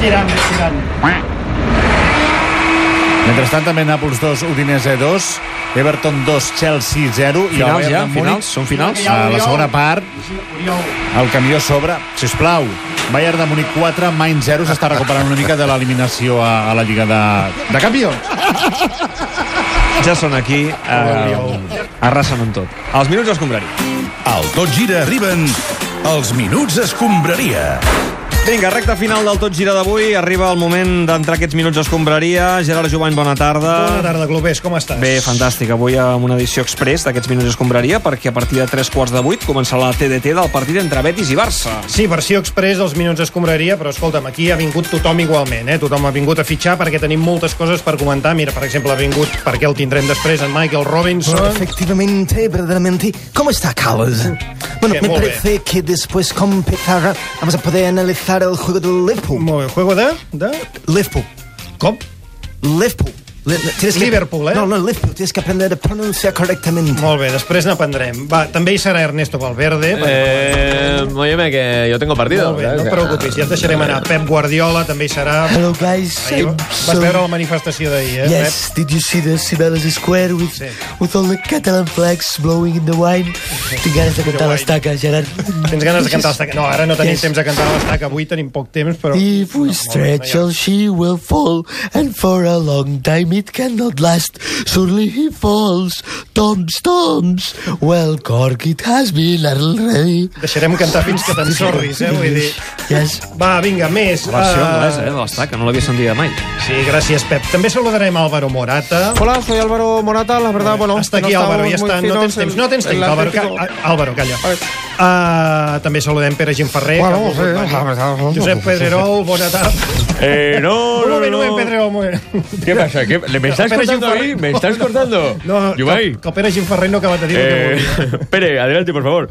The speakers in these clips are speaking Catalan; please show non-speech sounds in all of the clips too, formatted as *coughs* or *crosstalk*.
tirant, tirant. Mentrestant, també Nàpols 2, Udinese 2, Everton 2, Chelsea 0. i el Finals ja, Bayern de Múnich, finals, són finals. A la segona part, Oriol, el camió sobre, si us plau. Bayern de Múnich 4, Mainz 0, s'està recuperant una mica de l'eliminació a, a la Lliga de, de Campions. Ja són aquí, eh, arrasen amb tot. Els minuts els compraria. Al Tot Gira arriben els Minuts Escombraria. Vinga, recta final del Tot Gira d'avui. Arriba el moment d'entrar aquests minuts escombraria. Gerard Jovany, bona tarda. Bona tarda, Globers, com estàs? Bé, fantàstic. Avui amb una edició express d'aquests minuts escombraria perquè a partir de tres quarts de vuit començarà la TDT del partit entre Betis i Barça. Sí, versió express dels minuts escombraria, però escolta'm, aquí ha vingut tothom igualment, eh? Tothom ha vingut a fitxar perquè tenim moltes coses per comentar. Mira, per exemple, ha vingut, perquè el tindrem després, en Michael *laughs* Robinson. Efectivamente, verdaderamente. ¿Cómo está, Carlos? Bueno, Bien, me muy parece que después con Pizarra vamos a poder analizar el juego del Liverpool. Molt bé, juego de... de... Liverpool. Com? Liverpool. Le- le- tienes Liverpool, ¿eh? No, no, Liverpool. Tienes que aprender a pronunciar correctamente. Molt bé, després n'aprendrem. Va, també hi serà Ernesto Eh, Valverde. perquè- Eh, óyeme, que yo tengo partido. Molt bé, eh? no et preocupis, ja et deixarem anar. Pep Guardiola també hi serà. Hello, guys. Ahir I'm vas so- veure la manifestació d'ahir, eh, Pep? Yes, did you see the Cibeles Square with, Sí. with all the Catalan flags blowing in the wine? Tinc ganes de cantar wine. les taques, Gerard. Tens ganes de cantar l'estaca? No, ara no tenim Yes. temps de cantar l'estaca. Avui tenim poc temps, però... If we stretch her, she will fall, and for a long time it cannot last. Surely he falls, tombs, tombs. Well, Cork, it has been already. Deixarem cantar fins que t'ensorris, eh? Vull dir... Yes. Va, vinga, més. Versió Ah, anglesa, eh, de l'estaca. No l'havia sentit mai. Sí, gràcies, Pep. També saludarem Álvaro Morata. Hola, soy Álvaro Morata, la verdad, bueno... Hasta aquí, no Álvaro, ja estábamos està. muy No finos tens temps, en- no tens en temps. el Álvaro, Atlético. calla. Álvaro, calla. A ver. Ah, també saludem Pere Gimferrer. que Bueno, ha volgut sí, venir. a ver, a ver. Josep Pedrerol, bona tarda. Eh, no, Un no, moment, un no. moment, Pedrerol, un moment. ¿Qué pasa? ¿Qué- ¿Le- ¿Me estás Espera, cortando Jim ahí? ¿Me estás cortando? No, que, Yubay. que el Pere Gimferrer no ha acabat de dir Eh, el que volia. *laughs* Pere, adelante, por *laughs* favor.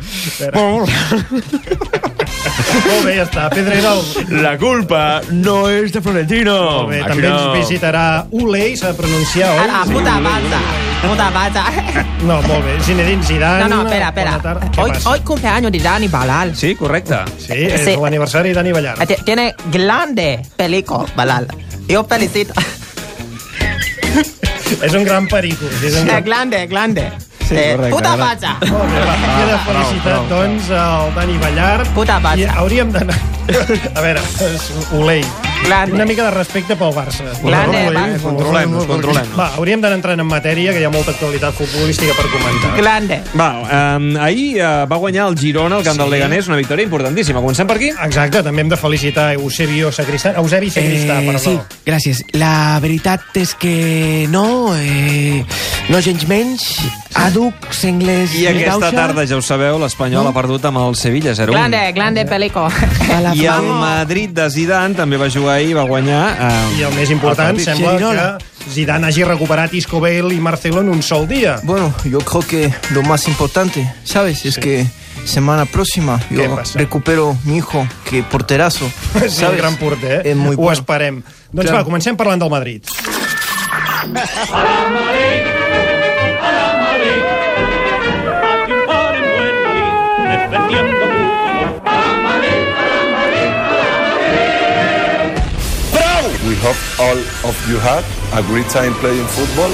Molt bé, ja està. Pedrerol, La culpa no es de Florentino. Molt bé, Aquí també no. ens visitarà Ulei, s'ha de pronunciar, oi? Ara, Ah, puta pata. Puta pata. *laughs* No, molt bé. Zinedine No, Zidane. no, espera, Bona espera. tarda. Què Hoy, passa? hoy cumpleaños de Dani Balal. Sí, correcte. Sí, és Sí. l'aniversari d'Ani Ballar. Eh, ti- Tiene grande pelico, Balal. Yo felicito. És un gran perico. És un Eh, gran... grande, grande. Sí, Eh, correcte, puta ara. pata. Molt bé, va. He de felicitar, doncs, el Dani Ballar. Puta pata. I hauríem d'anar... A veure, és Ulei. Grande. Una mica de respecte pel Barça. Grande, va. Controlem-nos, controlem-nos. Va, hauríem d'anar entrant en matèria, que hi ha molta actualitat futbolística per comentar. Grande. Va, eh, ahir eh, va guanyar el Girona al camp sí. del Leganés, una victòria importantíssima. Comencem per aquí? Exacte, també hem de felicitar Eusebio Sacristà, Eusebi Sacristà, Eh, perdó. sí, gràcies. La veritat és que no, eh, no gens menys. Àdhuc, sengles, I aquesta Mendoza, tarda, ja ho sabeu, l'Espanyol ha perdut amb el Sevilla 0-1. Grande, grande pelico. a la I el Fama. Madrid de Zidane també va jugar ahir, va guanyar... Eh, I el més important, partit. sembla Girona. que Zidane hagi recuperat Isco Bale i Marcelo en un sol dia. *laughs* Bueno, yo creo que lo más importante, ¿sabes? Es que semana próxima ¿Qué yo pasa? recupero mi hijo, que *laughs* porterazo. És un gran porter, eh? És molt Ho bueno. esperem. Doncs va, comencem parlant del Madrid. We hope all of you had a great time playing football.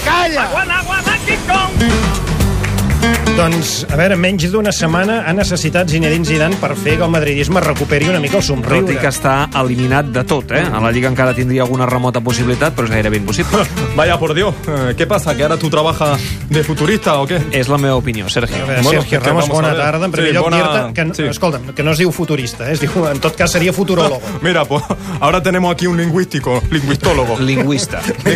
Doncs, a veure, menys d'una setmana ha necessitat Zinedine Zidane per fer que el madridisme recuperi una mica el Tot i somriure. que està eliminat de tot, eh? A la Lliga encara tindria alguna remota possibilitat, però és gairebé impossible. *laughs* Vaya, por Dios, eh, ¿qué pasa? ¿Que ahora tú trabajas de futurista o qué? és la meva opinió, Sergio. A veure, Bueno, Sergio que Ramos, vamos a bona ver. tarda. En primer Sí, lloc, bona- dir-te que, sí. escolta'm, que no es diu futurista, eh? es diu, en tot cas seria futuròlogo. *laughs* Mira, pues ahora tenemos aquí un lingüístico, lingüistólogo. *laughs* Lingüista. Lingüista.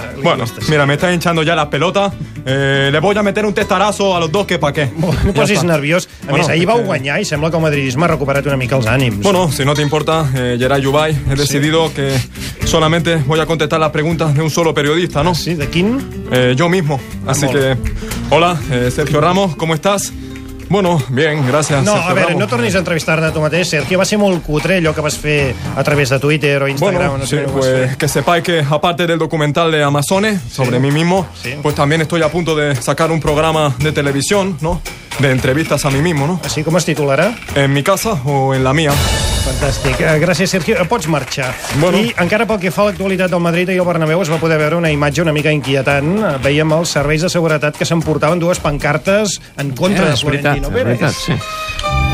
lingüista, Bueno, sí. mira, me está hinchando ya las pelotas. Eh, le voy a meter un testarazo a los dos, que pa' qué. No posis nerviós. A Bueno, més, ahir vau que- guanyar i sembla que el madridisme ha recuperat una mica els ànims. Bueno, si no te importa, eh, Gerard Yubay, he decidido que solamente voy a contestar las preguntas de un solo periodista, ¿no? Sí, de quin? Eh, yo mismo. Así Amor. que, hola, eh, Sergio Ramos, ¿cómo estás? Bueno, bien, gracias. No, Sergio a veure, Ramos. no tornis a entrevistar-te a tu mateix, Sergio. Va ser molt cutre allò que vas fer a través de Twitter o Instagram. no Bueno, sí, sé què vas pues fer. que sepáis que aparte del documental de Amazones sobre mí mismo, Sí. pues también estoy a punto de sacar un programa de televisión, ¿no? de entrevistas a mí mismo, ¿no? Així com es titularà? En mi casa o en la mía. Fantàstic. Eh, Gràcies, Sergio. Eh, Pots marxar. Bueno. I encara pel que fa a l'actualitat del Madrid, ahir al Bernabéu es va poder veure una imatge una mica inquietant. Eh, Veiem els serveis de seguretat que s'emportaven dues pancartes en contra Eh, de es veritat, Florentino es Pérez. veritat, sí.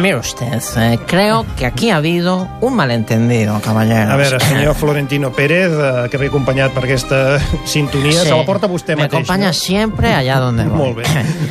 Mire usted, eh, creo que aquí ha habido un malentendido, caballero. A veure, senyor Florentino Pérez, eh, que ve acompanyat per aquesta *laughs* sintonia, se la porta vostè Me pues mateix. acompaña siempre allá donde voy. Molt bé.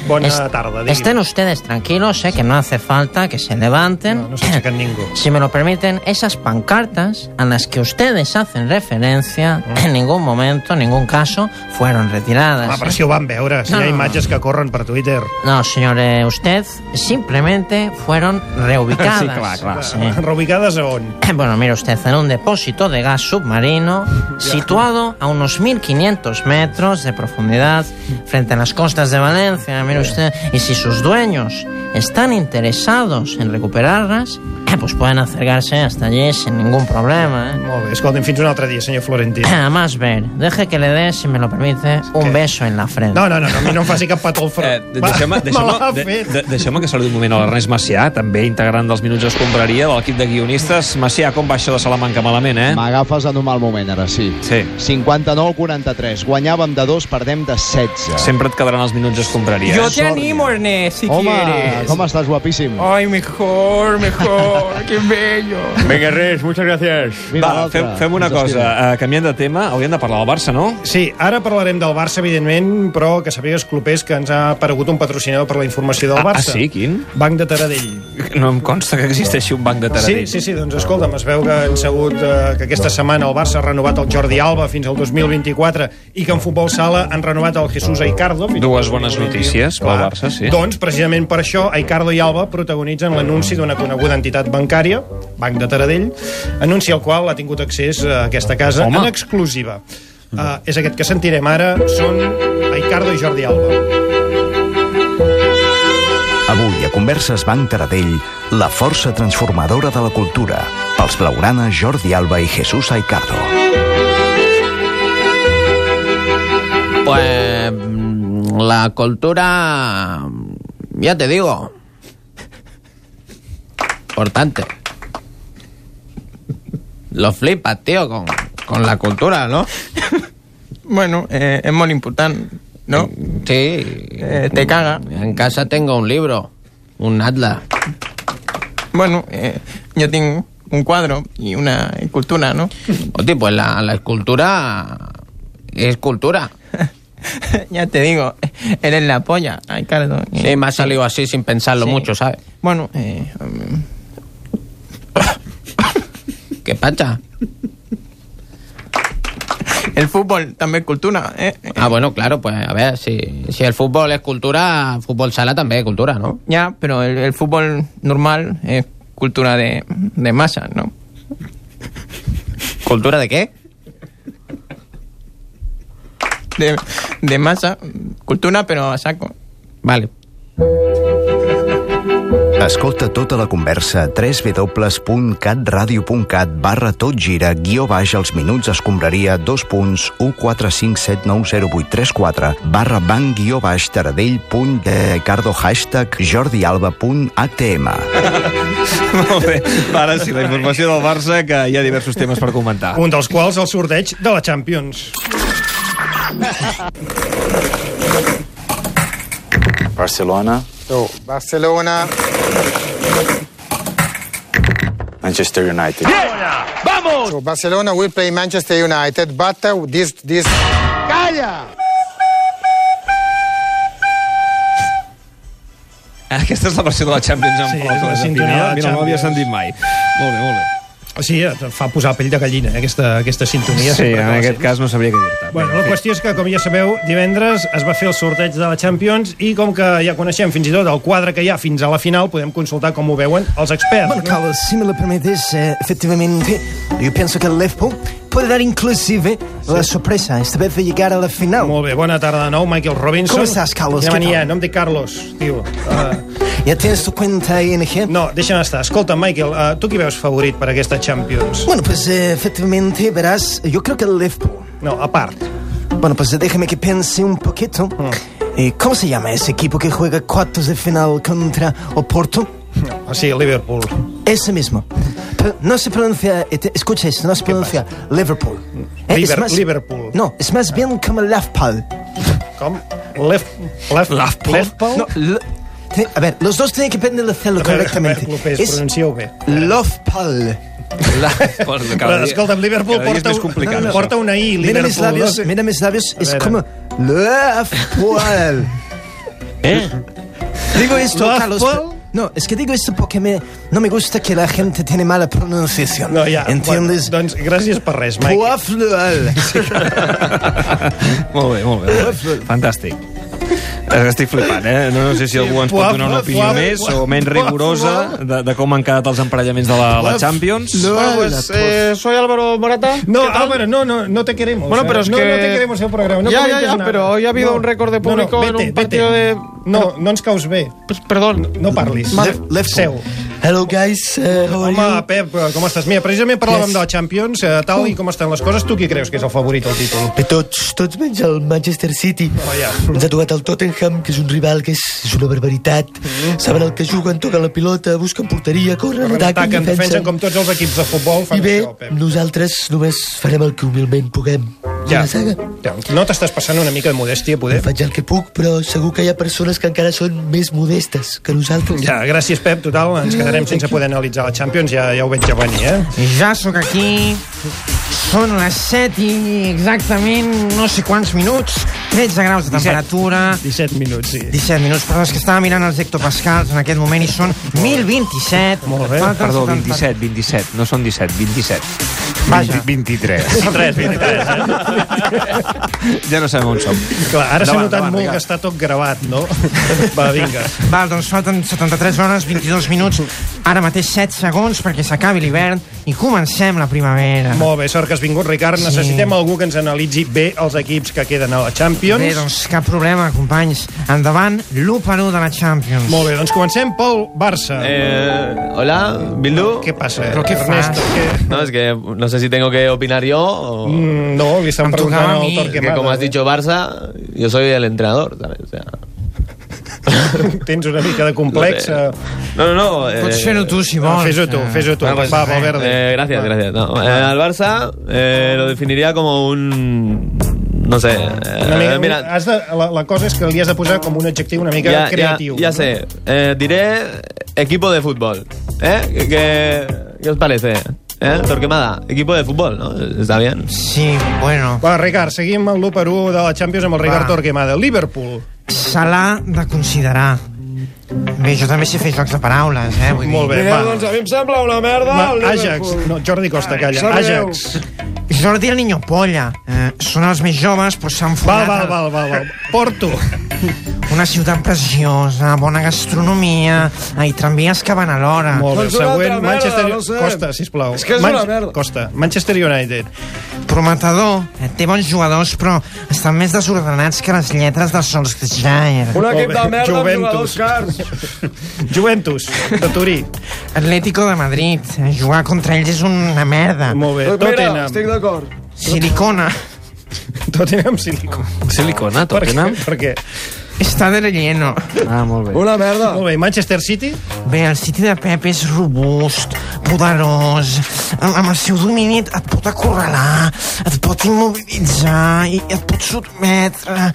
Bona Es- tarda, digui. Estén ustedes tranquilos, sé que no hace falta que se levanten. No, no se aixequen ningú. *laughs* Si me lo permiten, esas pancartas a las que ustedes hacen referencia, en ningún momento, en ningún caso, fueron retiradas. Mm. Ah, però ¿eh? si ho van veure, si No, hi ha no, no. imatges que corren per Twitter. No, señor, eh, usted simplemente *laughs* fueron reubicadas. Sí, claro, claro. Sí. Reubicades a on? *clears throat* Bueno, mire usted, en un depósito de gas *laughs* submarino situado a unos 1500 metros de profundidad frente a las costas de Valencia, mire usted. Y si sus dueños están interesados en recuperarlas, eh, pues pueden acercarse hasta allí sin ningún problema. ¿eh? Molt bé, escolti'm, fins un altre dia, senyor *clears throat* Florentino. A más ver, deje que le dé, si me lo permite, un ¿Qué? beso en la frente. No, no, no, no, a mi no em faci cap petó al Eh, front. de- Va, *laughs* Deixeu-me me deixeu l'ha de, fet. de, deixeu que saludi un moment a l'Ernest Macià, també integrant dels Minuts Escombraria, de l'equip de guionistes. Macià, com va això de Salamanca? Malament, eh? M'agafes en un mal moment, ara, sí. Sí. 59-43. Guanyàvem de 2, perdem de 16. Sempre et quedaran els Minuts eh? Escombraria. Yo te animo, Ernest, si Home, quieres. com estàs guapíssim. Ay, mejor, mejor. Qué bello. Venga, Ernest, muchas gracias. Mira Va, l'altre. fem, fem una Ens estima. cosa. Uh, canviant de tema, hauríem de parlar del Barça, no? Sí, ara parlarem del Barça, evidentment, però que sàpigues, Clopés, que ens ha aparegut un patrocinador per la informació del Ah, ah, Barça. sí? Quin? Banc de Taradell. No em consta que existeixi un banc de Taradell. Sí, sí, sí, doncs escolta'm, es veu que han segut eh, que aquesta setmana el Barça ha renovat el Jordi Alba fins al 2024 i que en futbol sala han renovat el Jesús Aicardo. Fins al Dues bones 2021. notícies pel Clar. Barça, sí. Doncs, precisament per això, Aicardo i Alba protagonitzen l'anunci d'una coneguda entitat bancària, Banc de Taradell, anunci al qual ha tingut accés a aquesta casa Home. en exclusiva. Uh, és aquest que sentirem ara, són Aicardo i Jordi Alba. Avui a Converses Banc Taradell, la força transformadora de la cultura. Els blaugrana Jordi Alba i Jesús Aicardo. Pues mm, la cultura, mm, ya te digo, importante. Lo flipas, tío, con, con la cultura, ¿no? Bueno, eh, es muy importante, ¿no? Sí. Eh, te caga. En casa tengo un libro, un atlas. Bueno, eh, yo tengo un cuadro y una escultura, ¿no? Hostia, pues la, la escultura es cultura. *laughs* ya te digo, eres la polla, Ricardo. Sí, me ha salido así sin pensarlo Sí. mucho, ¿sabes? Bueno, eh, um, *coughs* ¿Qué pacha? el fútbol también es cultura, ¿eh? Ah, bueno, claro, pues a ver, si, si el fútbol es cultura, fútbol sala también es cultura, ¿no? Ya, pero el, el fútbol normal es cultura de, de masa, ¿no? ¿Cultura de qué? De, de masa, cultura, pero a saco. Vale. Escolta tota la conversa a www.catradio.cat barra tot gira guió baix els minuts escombraria 2 punts 145790834 barra banc guió baix taradell punt eh, cardo hashtag jordialba.htm *laughs* Molt bé. Ara sí, la informació del Barça, que hi ha diversos temes per comentar. Un dels quals el sorteig de la Champions. Barcelona, Barcelona. Manchester United. Barcelona will play Manchester United, but uh, this, this... Aquesta és la versió de la Champions amb Sí, la és la Fiorentina. sintonia de la Mira, no l'havia Champions. sentit mai. Molt bé, molt bé. O sigui, et fa posar pell de gallina, eh, aquesta, aquesta sintonia. Sí, sempre que en la aquest sents. cas no sabria què dir-te. Bueno, la qüestió és que, com ja sabeu, divendres es va fer el sorteig de la Champions i com que ja coneixem fins i tot el quadre que hi ha fins a la final, podem consultar com ho veuen els experts. no? Carlos, se me lo permites, eh, efectivamente, yo pienso que el Liverpool puede dar inclusive la sorpresa, esta vez de llegar a la final. Molt bé, bona tarda de nou, Michael Robinson. Com estàs, Carlos? Quina Què mania, tal? no em dic Carlos, *laughs* tio. Uh, ¿Ya tienes tu cuenta ING? no, deixa'm estar. Escolta, Michael, uh, tu qui veus favorit per aquesta Champions? Bueno, pues eh, efectivamente, verás, yo creo que el Liverpool. No, a part. Bueno, pues déjame que piense un um poquito. Eh, ¿Cómo se llama ese equipo que juega cuartos de final contra Oporto? Sí, Liverpool. Ese mismo. Pero no se pronuncia, et- escucha esto, no se pronuncia Liverpool. Eh, es Liber- más- Liverpool. No, es más bien como Lafpal. ¿Cómo? Left, left, No, l- te- a ver, los dos tienen que prender el celo correctamente. López, Es pronuncieu bé. Lofpal. Però, escolta'm, Liverpool porta, No, no, no. porta una I, Mira mis Liverpool. labios, no? mira mis labios, A es veure. como Lofpal. ¿Eh? Digo esto, ¿Love Carlos. Paul? No, es que digo esto porque me, no me gusta que la gente tiene mala pronunciación. No, ja. ¿Entiendes? Bueno, doncs gràcies per res, Mike. Poaflual. Molt bé, molt bé. Molt bé. *laughs* Fantàstic. Eh, Estic flipant, eh? No, no sé si algú ens pot donar una opinió més o menys rigorosa de, de com han quedat els emparellaments de la, la Champions. Bueno, pues eh, soy Álvaro Morata. No, Álvaro, no, no, no te queremos. Bueno, pero es no, que... No te queremos el programa. No ya, ya, comentes ya, nada. pero hoy ha habido un récord de público no, no, vete, en un partido vete. de... No, no ens caus bé. Pues, perdón. No parlis. Lef- Lefko. Seu. Hello, guys. Uh, how are Home, you? Pep, eh, com estàs? Mira, precisament parlàvem Yes. Oh. de la Champions, eh, tal i com estan les coses, tu qui creus que és el favorit al títol? Bé, tots, tots menys el Manchester City. Oh, ja. Ens ha tocat el Tottenham, que és un rival que és, és una barbaritat. Mm. Saben el que juguen, toquen la pilota, busquen porteria, corren, Ataquen, ataquen, defensen, defensen... com tots els equips de futbol fan I bé, això, Pep. nosaltres només farem el que humilment puguem. Ja. Ja. La saga. Ja. No t'estàs passant una mica de modèstia, poder? Faig el que puc, però segur que hi ha persones que encara són més modestes que nosaltres. Ja, gràcies, Pep. Total, ens quedarem sense poder analitzar la Champions, ja, ja ho veig a venir, eh? Ja sóc aquí, són les 7 i exactament no sé quants minuts, 13 graus de temperatura... 17 minuts, sí. 17 minuts, perdó, és que estava mirant els hectopascals en aquest moment i són 1027. Molt bé. Ah, Perdó, 27, 27. No són 17, 27. Vaja. 23. 23, 23, eh? *laughs* Ja no sabem on som. Clar, ara Endavant, s'ha notat endavant, molt vinga. que està tot gravat, no? *laughs* Va, vinga. Val, doncs falten 73 hores, 22 minuts, ara mateix 7 segons perquè s'acabi l'hivern i comencem la primavera. Molt bé, sort que has vingut, Ricard. Sí. Necessitem algú que ens analitzi bé els equips que queden a la Champions. Bé, doncs cap problema, companys. Endavant, l'1 per 1 de la Champions. Molt bé, doncs comencem pel Barça. Eh, hola, Bildu. ¿Qué pasa? ¿Pero qué Ernesto, No, es que no sé si tengo que opinar yo o... Mm, No, ¿eh? li estan preguntant al Es que Torquemada. como has dicho Barça, yo soy el entrenador, ¿sabes? O sea, Tens una mica de complex. No no, no, no. eh, Pots fer-ho tu, si vols. Fes-ho tu, fes-ho tu. Bueno, pues, Va, Valverde. eh, gracias, gracias. No, eh, al Barça eh, lo definiría como un... No sé. eh, Una mica, mira, has de, la, la cosa és que li has de posar com un adjectiu una mica creatiu. Ya, ya sé. Eh, diré equipo de fútbol. ¿Eh? ¿Qué, qué, qué os parece? ¿Eh? Torquemada, equipo de fútbol, ¿no? Está bien. Sí, bueno. Va, Ricard, seguim amb l'1 per 1 de la Champions amb el Ricard Torquemada. Liverpool. Salah de considerar. Bé, jo també sé fer jocs de paraules, eh? Vull Molt bé, dir. va. Doncs a mi em sembla una merda el Ajax. Liverpool. No, Jordi Costa, calla. Sap greu. Ajax. Jordi el niño polla. Eh, són els més joves, però s'han Val, fundat... val, val, val, val. Porto. *laughs* Una ciutat preciosa, bona gastronomia, i tramvies que van a l'hora. Molt bé, el següent, Manchester... Costa, sisplau. És que és una merda. Costa, Manchester United. Prometedor, eh, té bons jugadors, però estan més desordenats que les lletres de Solskjaer. Un equip de merda amb Juventus. cars. *laughs* Juventus, de Turí. Atlético de Madrid, eh, jugar contra ells és una merda. Molt bé, Doncs mira, Tottenham. estic d'acord. Silicona. *laughs* Tottenham Silicona. Silicona, Per què? Tottenham. Per què? Està de relleno. Ah, molt bé. merda. Molt bé, i Manchester City? Bé, el City de Pep és robust, poderós, amb amb el seu domini et, et pot acorralar, et pot immobilitzar i et pot sotmetre.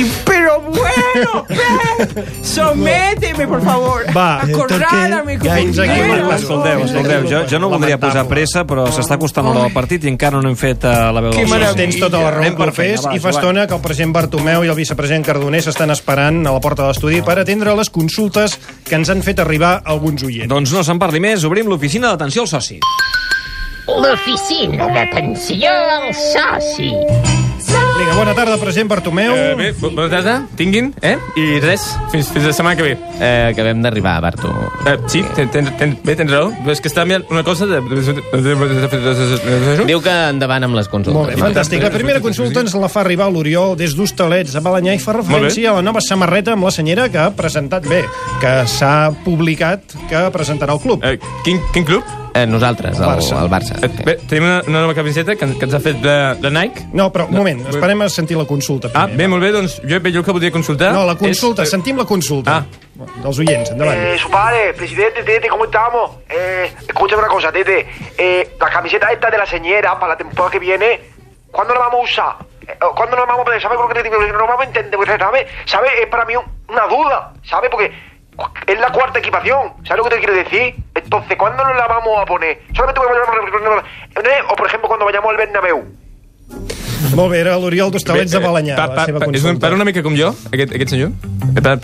I, però *laughs* bueno, Pep, sométeme, por favor. Va, eh, acorralame, Fins aquí compañero. Escolteu, escolteu, jo, jo no voldria posar pressa, però s'està costant l'hora del partit i encara no hem fet eh, la veu del Doncs soci. Tens tota la raó, Anem per feina, Corfés, va, i fa Joan. estona que el president Bartomeu i el vicepresident Cardoner s'estan esperant a la porta de l'estudi per atendre les consultes que ens han fet arribar alguns oients. Doncs no se'n parli més, obrim l'oficina d'atenció al soci. L'oficina d'atenció al soci. Vinga, bona tarda, president Bartomeu. Eh, bé, bo- bona tarda, tinguin, eh? I res, fins, fins la setmana que ve. Eh, acabem d'arribar, Bartu. Eh, sí, ten, ten, ten, bé, tens raó. Però És que està mirant una cosa de... Diu que endavant amb les consultes. Molt bé, fantàstic. La primera consulta ens la fa arribar l'Oriol des d'Hostalets, a Balanyà, i fa referència a la nova samarreta amb la senyera que ha presentat bé, que s'ha publicat que presentarà el club. Eh, quin, quin club? Eh, nosaltres, el, el Barça. El Barça. Et- Bé, tenim una, una nova camiseta que, que ens ha fet la, la Nike. No, però un moment, esperem a sentir la consulta. Ah, bé, molt bé, doncs jo, bé, jo el que voldria consultar... eh, No, la consulta, sentim la consulta. Ah. Dels oients, endavant. Eh, su padre, presidente, Tete, ¿cómo estamos? Eh, escúchame una cosa, Tete. Eh, la camiseta esta de la señora para la temporada que viene, ¿cuándo la vamos a usar? Eh, ¿Cuándo la vamos a poner? ¿Sabes lo que te digo? No vamos a entender, porque, ¿sabes? ¿Sabes? Es para mí un- una duda, ¿sabes? Porque es la cuarta equipación, ¿sabes lo que te quiero decir? Entonces, ¿cuándo nos la vamos a poner? Solamente porque vayamos a- o por ejemplo cuando vayamos al Bernabéu. Molt bé, era l'Oriol Dostalets de Balanyà, eh, pa, la pa, seva pa, és un, consulta. para una mica com jo, aquest, aquest senyor? Eh, pa-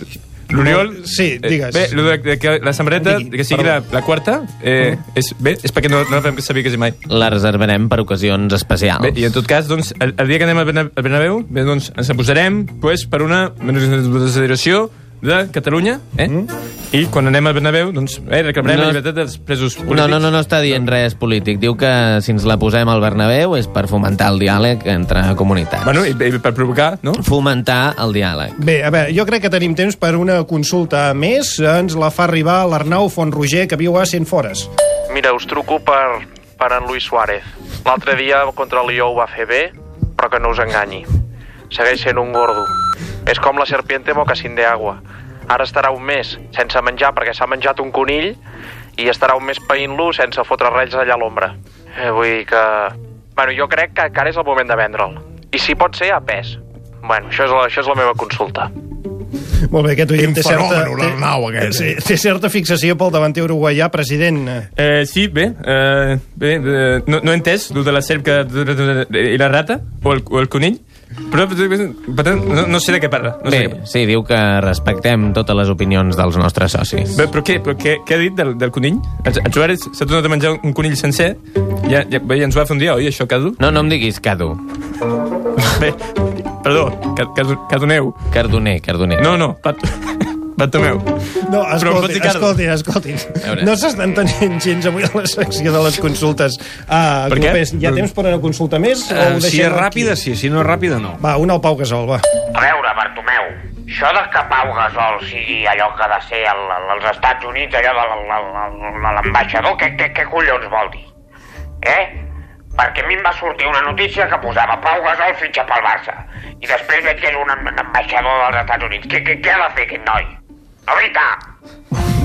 L'Oriol... Sí, digues. Eh, bé, lo de, de que la samarreta, que sigui la, la quarta, eh, Mm. és, bé, és perquè no, no la vam saber quasi mai. La reservarem per ocasions especials. Bé, i en tot cas, doncs, el, el dia que anem al Berna- al Bernabéu, bé, doncs, ens la posarem pues, per una manifestació de Catalunya, eh? Mm. I quan anem al Bernabéu, doncs, eh, reclamarem Mm-hmm. No. no. la llibertat dels presos polítics. No, no, no, no està dient res polític. Diu que si ens la posem al Bernabéu és per fomentar el diàleg entre comunitats. Bueno, i, i per provocar, no? Fomentar el diàleg. Bé, a veure, jo crec que tenim temps per una consulta més. Ens la fa arribar l'Arnau Fontroger, que viu a Cienfores. Mira, us truco per, per en Luis Suárez. L'altre dia contra el Lió ho va fer bé, però que no us enganyi. Segueix sent un gordo. És com la serpiente mocassin de agua. Ara estarà un mes sense menjar perquè s'ha menjat un conill i estarà un mes païnt-lo sense fotre res allà a l'ombra. Eh, Vull dir que... Bueno, jo crec que, que ara és el moment de vendre'l. I si pot ser, a pes. Bueno, això és la, això és la meva consulta. Molt bé, aquest oient té certa... fenòmeno, l'Arnau, aquest. eh? Té, té certa fixació pel davanter uruguaià, president. Eh, sí, bé, eh, bé eh, no, no he entès el de la serp que, i la rata, o el, o el conill, però per tant, no, no sé de què parla. No sé de què Bé, sí, diu que respectem totes les opinions dels nostres socis. Bé, però què, però què, què ha dit del, del conill? El, el Suárez s'ha tornat a menjar un conill sencer ja, ja, bé, i ens va fer un dia, oi, això, Cadu? No, no em diguis Cadu. Bé, perdó, Ca- Cadu- Cadoneu. Cardoner, Cardoner. No, no, Pat... *laughs* Bartomeu. No, Però em pot escolti, dir Cardo. escolti, escolti. veure. No s'estan tenint gens avui a la secció de les consultes. Ah, Per què? Clopés, Hi ha temps per una consulta més? o Eh, ho si deixem és aquí? ràpida, sí. Si no és ràpida, no. Va, una al Pau Gasol, va. A veure, Bartomeu, això de que Pau Gasol sigui allò que ha de ser al, al, als Estats Units, allò de la- la- la- la- l'ambaixador, què, què, què collons vol dir? Eh? Perquè a mi em va sortir una notícia que posava Pau Gasol fitxa pel Barça i després veig que és un am- ambaixador dels Estats Units. Què, què, què ha de fer aquest noi? La veritat!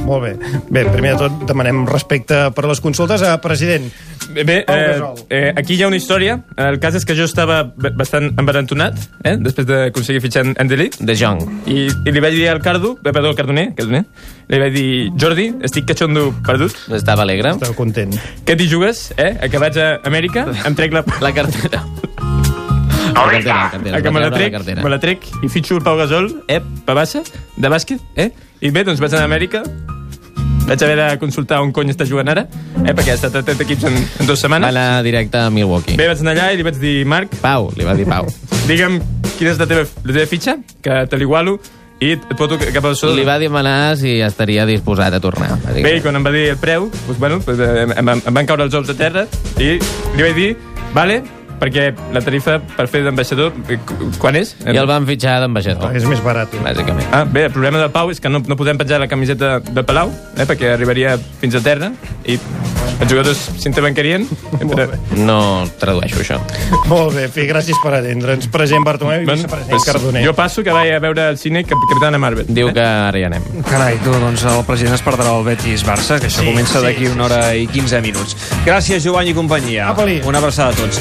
Molt bé. Bé, primer de tot demanem respecte per les consultes. a president, Bé, bé eh, eh, aquí hi ha una història. Eh, El cas és que jo estava ba- bastant embarantonat, eh, després d'aconseguir fitxar en- en Delit. De Jong. I, I li vaig dir al Cardo, eh, perdó, al Cardoner, Cardoner, li vaig dir, Jordi, estic catxondo perdut. Estava alegre. esteu content. Què t'hi jugues, eh? A que vaig a Amèrica, em trec la... La *laughs* cartera. La cartera, la cartera. A que me la Es va treure la trec, cartera. me la trec i fitxo el Pau Gasol, ep, pabassa, de bàsquet, eh? I bé, doncs vaig anar a Amèrica, vaig haver de consultar on cony està jugant ara, eh? Perquè ha estat a 30 equips en, en dues setmanes. Va anar directe a Milwaukee. Bé, vaig anar allà i li vaig dir, Marc... Pau, li va dir Pau. *laughs* Digue'm quina és la teva, la teva fitxa, que te l'igualo, i et et foto cap a sobre. Li va demanar si estaria disposat a tornar. Bé, i quan em va dir el preu, doncs, bueno, doncs, eh, em, em van caure els ous a terra i li vaig dir, vale, perquè la tarifa per fer d'ambaixador, eh, cu- quan és? I el van fitxar d'ambaixador. Ah, És més barat. eh? Bàsicament. Ah, bé, el problema del Pau és que no, no podem penjar la camiseta del Palau, eh, perquè arribaria fins a terra i els jugadors *laughs* s'intervencarien. Però... No tradueixo això. Molt bé, fi, gràcies per atendre'ns. President Bartomeu i vicepresident Pues, Cardoner. jo passo que vaig a veure al cine Cap Capitana Marvel. eh? Diu que ara hi anem. Carai, tu, doncs el president es perdrà el Betis-Barça, que això Sí, sí, comença sí, d'aquí sí, una hora i 15 minuts. Gràcies, Jovany i companyia. Apa-li. Una abraçada a tots.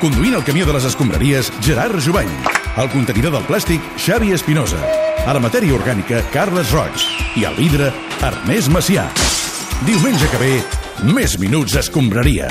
Conduint el camió de les escombraries, Gerard Jubany. El contenidor del plàstic, Xavi Espinosa. A la matèria orgànica, Carles Roig. I al vidre, Ernest Macià. Diumenge que ve, més minuts escombraria.